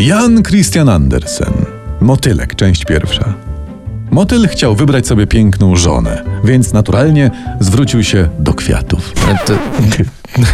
Jan Christian Andersen. Motylek, część pierwsza. Motyl chciał wybrać sobie piękną żonę, więc naturalnie zwrócił się do kwiatów. A E, to-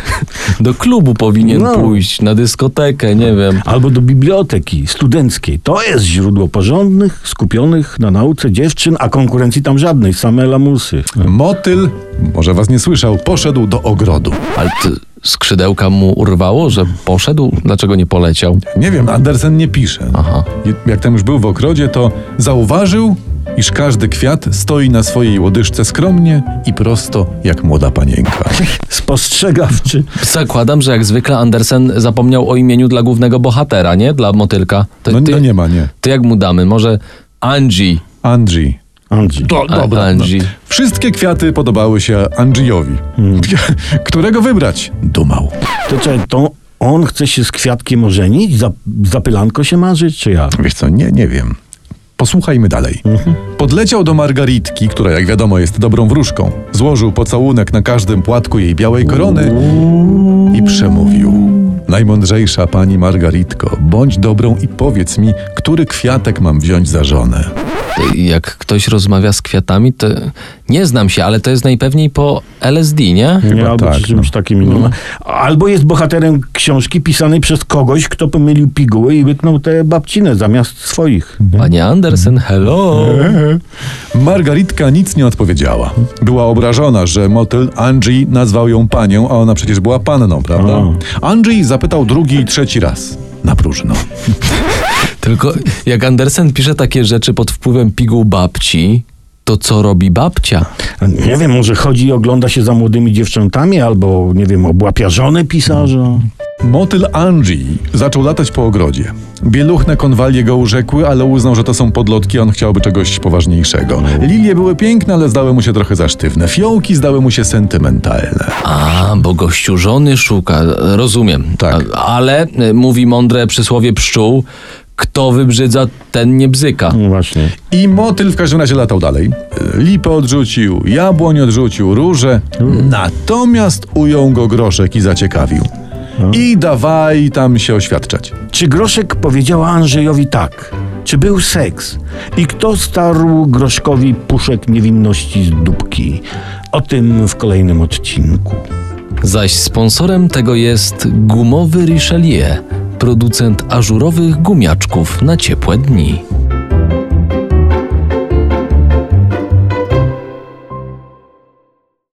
Do klubu powinien No. pójść, na dyskotekę, nie wiem. Albo do biblioteki studenckiej. To jest źródło porządnych, skupionych na nauce dziewczyn, a konkurencji tam żadnej, same lamusy. Motyl, może was nie słyszał, poszedł do ogrodu. Ale to skrzydełka mu urwało, że poszedł? Dlaczego nie poleciał? Nie wiem, Andersen nie pisze. Aha. I- Jak tam już był w ogrodzie, to zauważył, iż każdy kwiat stoi na swojej łodyżce skromnie i prosto jak młoda panienka. Spostrzegawczy. Zakładam, że jak zwykle Andersen zapomniał o imieniu dla głównego bohatera, nie? Dla motylka. To, No, ty, no nie ma, nie. to jak mu damy? Może Angie. Andrzej. Andrzej. Do, A- dobra. no. Angie. Wszystkie kwiaty podobały się Andrzejowi. Hmm. Którego wybrać? Dumał. To, czekaj, to on chce się z kwiatkiem ożenić? Za, za pylanko się marzyć, czy jak? Wiesz co, nie, nie wiem. Posłuchajmy dalej. Podleciał do Margaritki, która jak wiadomo jest dobrą wróżką. Złożył pocałunek na każdym płatku jej białej korony i przemówił. Najmądrzejsza pani Margaritko, bądź dobrą i powiedz mi, który kwiatek mam wziąć za żonę. To Jak ktoś rozmawia z kwiatami, to nie znam się, ale to jest najpewniej po LSD, nie? Nie, albo tak, przy czymś takim innym. Albo jest bohaterem książki pisanej przez kogoś, kto pomylił piguły i wyknął te babcinę zamiast swoich. Panie Andersen, hello! Margaritka nic nie odpowiedziała. Była obrażona, że motyl Angie nazwał ją panią, a ona przecież była panną, prawda? Angie zapytał drugi i trzeci raz. Na próżno. Tylko jak Andersen pisze takie rzeczy pod wpływem piguł babci, to co robi babcia? Nie wiem, może chodzi i ogląda się za młodymi dziewczętami, albo, nie wiem, obłapia żonę pisarza. Motyl Angie zaczął latać po ogrodzie. Bieluchne konwalie go urzekły, ale uznał, że to są podlotki, a on chciałby czegoś poważniejszego. Lilie były piękne, ale zdały mu się trochę za sztywne. Fiołki zdały mu się sentymentalne. A, bo gościu żony szuka, rozumiem. Tak. A, ale y, mówi mądre przysłowie pszczół, kto wybrzydza, ten nie bzyka. No właśnie. I motyl w każdym razie latał dalej. Lipę odrzucił, jabłoń odrzucił, róże. Natomiast ujął go groszek i zaciekawił. I dawaj tam się oświadczać. Czy Groszek powiedziała Andrzejowi tak? Czy był seks? I kto starł Groszkowi puszek niewinności z dupki? O tym w kolejnym odcinku. Zaś sponsorem tego jest gumowy Richelieu, producent ażurowych gumiaczków na ciepłe dni.